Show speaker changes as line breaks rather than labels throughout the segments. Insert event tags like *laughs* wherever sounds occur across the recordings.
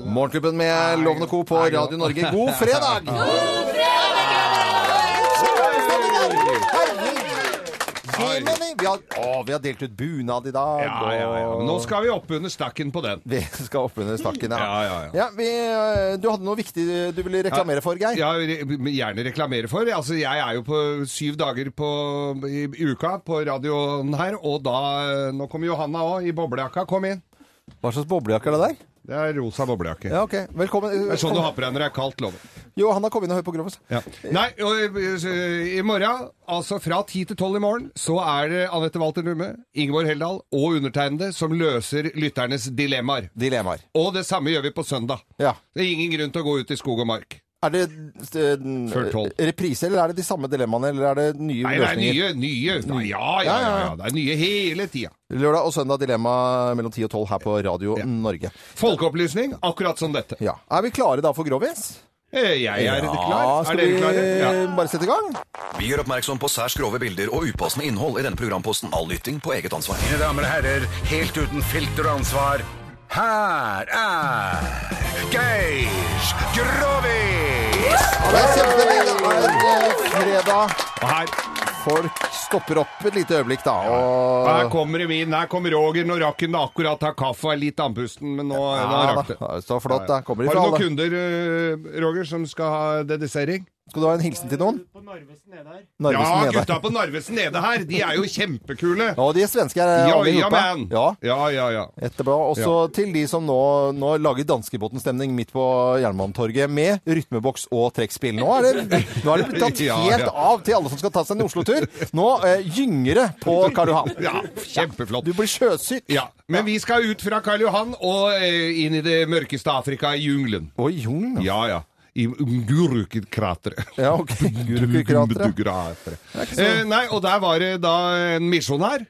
Morgenklubben med Lovende Co. på Radio Norge. God
*laughs*
fredag! Herregud! Vi har, å, vi har delt ut bunad i dag.
Ja, ja, ja.
og-
Men Nå skal vi opp under stakken på den.
*laughs* Vi skal oppunder stakken,
Ja, ja, ja.
vi, øh, du hadde noe viktig du ville reklamere for, Geir.
Ja, re- gjerne reklamere for. Altså, jeg er jo på syv dager på, i, i uka på radioen her, og da eh, Nå kommer Johanna òg, i boblejakka. Kom inn.
Hva slags boblejakke er det der?
Det er rosa boblejakke.
Ja, ok. Velkommen.
Det er sånn du har på deg når det er kaldt, lover.
Jo, han har kommet inn og hørt på Grovis.
Nei, og eh, i morgen, altså fra 10 til 12 i morgen, så er det Anette Walter Numme, Ingeborg Heldal og undertegnede som løser lytternes dilemmaer.
Dilemmaer.
Og det samme gjør vi på søndag.
Ja.
Det er ingen grunn til å gå ut i skog og mark.
Er det øh,
Før tolv.
reprise, eller er det de samme dilemmaene, eller er det nye
Nei, det er
løsninger?
nye, nye. Nei, ja, ja, ja, ja. Det er nye hele tida.
Lørdag og søndag dilemma mellom 10 og 12 her på Radio Norge.
Folkeopplysning, akkurat som dette.
Ja. Er vi klare da for Grovis?
Eh, Jeg er klar.
Ja,
Er
skal
dere
vi
klare? Ja.
bare sette i gang?
Vi gjør oppmerksom på særs grove bilder og upassende innhold i denne programposten. All lytting på eget ansvar.
Mine damer og herrer, helt uten filter og ansvar, her er Geir Grovis!
Ja, det er kjempefint. Det er en, øh, fredag.
Og her,
Folk stopper opp et lite øyeblikk, da.
her
Og...
kommer Evin, her kommer Roger. Nå rakk han akkurat ta kaffe, er litt andpusten, men nå, nå
Ja,
rakk det.
da. Så flott, da. Kommer de
Har
fra
du noen
alle.
kunder, eh, Roger, som skal ha dedisering?
Skal du ha en hilsen til noen?
På Narvesen nede her.
Ja,
Narvesen
gutta
nede.
på Narvesen nede her, de er jo kjempekule.
Ja, de er svenske her.
Ja,
alle i
ja,
gruppa.
man.
Ja.
ja, ja, ja.
Etterpå. Også til de som nå, nå lager danskebåtenstemning midt på Jernbanetorget med rytmeboks og trekkspill. Nå er det, nå er det blitt tatt
*laughs* Ja, ja.
helt av til alle som skal ta seg en Oslo-tur. Nå eh, gynger det på Karl Johan.
Ja, kjempeflott.
Du blir sjøsyk.
Ja, Men vi skal ut fra Karl Johan og eh, inn i det mørkeste Afrika, i jungelen.
Oi, jung. Ja.
Ja, ja. I Ngurukikrateret.
Ja, ok. Gurukukrateret.
Gurukikrateret.
ikke så- Mm.
Eh, nei, og der var det da en misjonær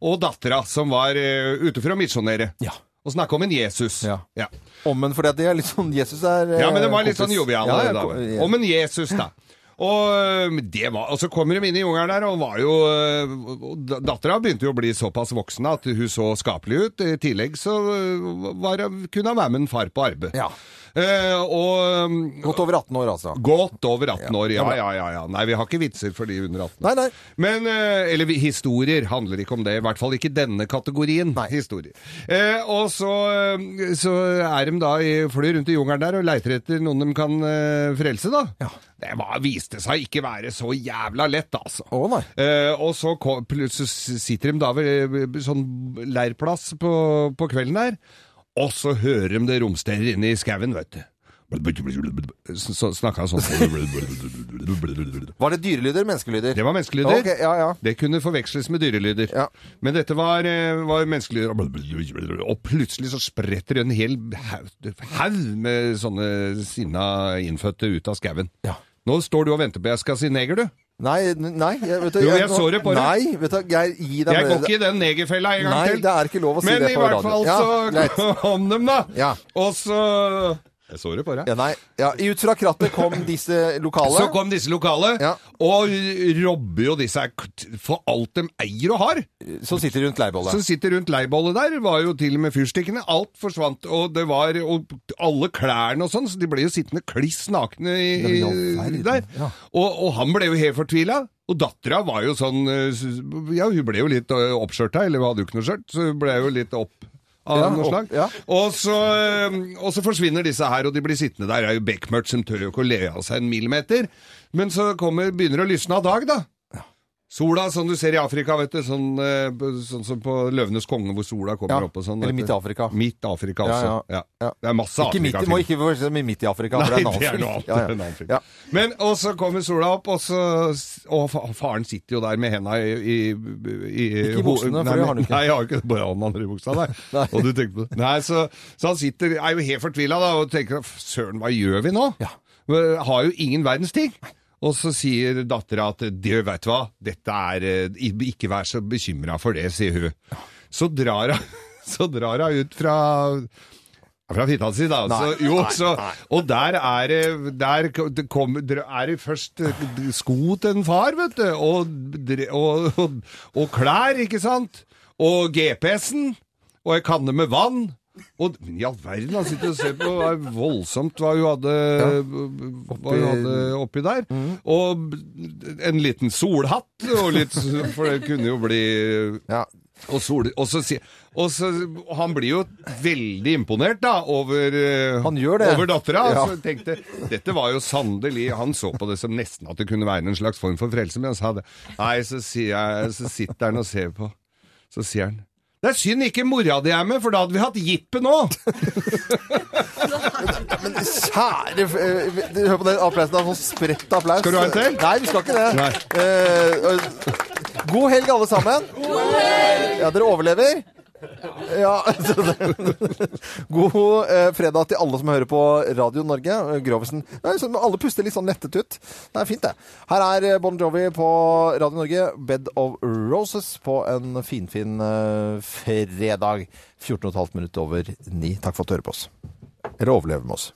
og dattera som var eh, ute for å misjonere.
Ja.
Og snakke om en Jesus.
Ja.
ja.
Ommen, fordi at det er litt sånn Jesus er eh,
Ja, men det var litt
kompis.
sånn jovial.
Ja, eh, ja,
da.
ko- ja.
Om en Jesus, da. Og, øhm, det var, og så kommer de inn i jungelen der, og var jo øh, og da- Dattera begynte jo å bli såpass voksen at hun så skapelig ut. I tillegg så øh, var, hun- kunne hun være med en far på arbeid.
Ja.
Eh, og øhm,
Godt over 18 år, altså.
godt over 18 år. Ja,
Ja, bra.
ja, ja. ja. Nei, vi har ikke vitser for de under 18.
Nei, nei.
Men, eh, eller vi- historier handler ikke om det, i hvert fall ikke denne kategorien
Nei.
historier. Eh, og så, eh, så er de da i flyr rundt i jungelen der og leiter etter noen de kan eh, frelse da.
Ja.
Det var, viste seg ikke være så jævla lett altså.
Å, nei.
Eh, og så, kom, plutselig sitter de da ved eh, sånn leirplass på, på kvelden der, og så hører de det romsterer inne i skauen, vet du. Så så snakket han sånn.
Var det dyrelyder, menneskelyder?
Det var menneskelyder.
Ok, ja, ja.
Det kunne forveksles med dyrelyder.
Ja.
Men dette var, eh, var menneskelyder. Og plutselig så spretter en hel haug haug med sånne sinna innfødte ut av skauen.
Ja.
Nå står du og venter på jeg skal si neger, du.
Nei, n- nei jeg, vet du,
Jo, jeg så det på deg.
Nei, vet du, Geir, gi deg
Jeg går
med
ikke i den negerfella en gang
Nei,
til.
det er ikke lov å si
Men
det
i
på
hvert
radio.
fall
Ja,
så
greit.
*laughs* kom dem, da.
Ja.
Og så Jeg så det på deg.
Ja, nei. Ja, ut fra krattet kom disse lokale.
Så kom disse lokale,
Ja.
og robber jo disse her k- for alt de eier og har.
som sitter rundt leirbollet.
som sitter rundt leibollet der, var jo til og med fyrstikkene. Alt forsvant, og det var og alle klærne og sånn, så de ble jo sittende kliss nakne i,
Ja, i all verden,
der.
ja.
Og, og han ble jo helt fortvila. Og dattera var jo sånn eh, s- Ja, hun ble jo litt eh, oppskjørta, eller hun hadde jo ikke noe skjørt, så hun ble jo litt opp. Av
Ja,
noe
opp,
slag.
ja.
Og, så, eh, og så forsvinner disse her, og de blir sittende der. Det er jo bekmørkt, som tør jo ikke å le av seg en millimeter. Men så kommer, begynner det å lysne av dag, da. Sola, som du ser i Afrika, vet du. Sånn, eh, b- sånn som på Løvenes konge, hvor sola kommer
Ja,
opp og sånn.
eller
vet du.
Midt i Afrika.
Midt Afrika også.
Ja,
Ja,
ja, ja.
Det er masse
Ikke midt,
Afrika-film.
må ikke forveksle med midt i Afrika. for
Nei,
en annen
det er
film.
noe annet.
Ja, ja.
det er en annen film.
Ja.
Men, og så kommer sola opp, og, så, og fa- faren sitter jo der med henda i, i, i
Ikke i buksene, for
nei,
det har han jo ikke.
Nei, jeg har ikke bare han andre i buksa, nei.
*laughs* Nei.
Og du tenker på det. Nei, så, så han sitter, er jo helt fortvila da, og tenker, "F- søren, hva gjør vi nå?
Ja.
Vi Har jo ingen verdens ting. Og så sier dattera at det, vet du hva, dette er eh, Ikke vær så bekymra for det, sier hun. Så drar hun, *laughs* så drar hun ut fra fra fitta si, da. så, jo, så, Og der er det Der k- det kom, dr- er det først eh, d- sko til en far, vet du. Og, dre- og, og, og klær, ikke sant? Og GPS-en. Og ei kanne med vann. Og men i all verden, han sitter og ser på det var voldsomt hva hun hadde, hva hun hadde oppi der. Og en liten solhatt, og litt, for det kunne jo bli
Ja.
og, sol, og, så, si- og så og Han blir jo veldig imponert da over, eh,
Han gjør det.
over dattera.
Ja.
Så tenkte Dette var jo sannelig Han så på det som nesten at det kunne være en slags form for frelse, men han sa det. Nei, så, sier jeg, så sitter han og ser på. Så sier han Det er synd ikke mora di er med, for da hadde vi hatt
*laughs*
jippe nå!
Men kjære f- eh, du, Hør på den applausen. Det er sånn spredt applaus.
Skal du ha en til?
Nei, vi skal ikke det.
Nei.
Eh, og- god helg, alle sammen. God helg! Ja, dere overlever. Ja, *laughs* så det- God eh, fredag til alle som hører på Radio Norge. eh, Grovesen. Nei, så alle puster litt sånn lettet ut. Det er fint, det. Her er eh, Bon Jovi på Radio Norge, 'Bed of Roses', på en finfin eh, fredag. 14,5 minutter over 9. Takk for at du hører på oss. Dere overlever med oss.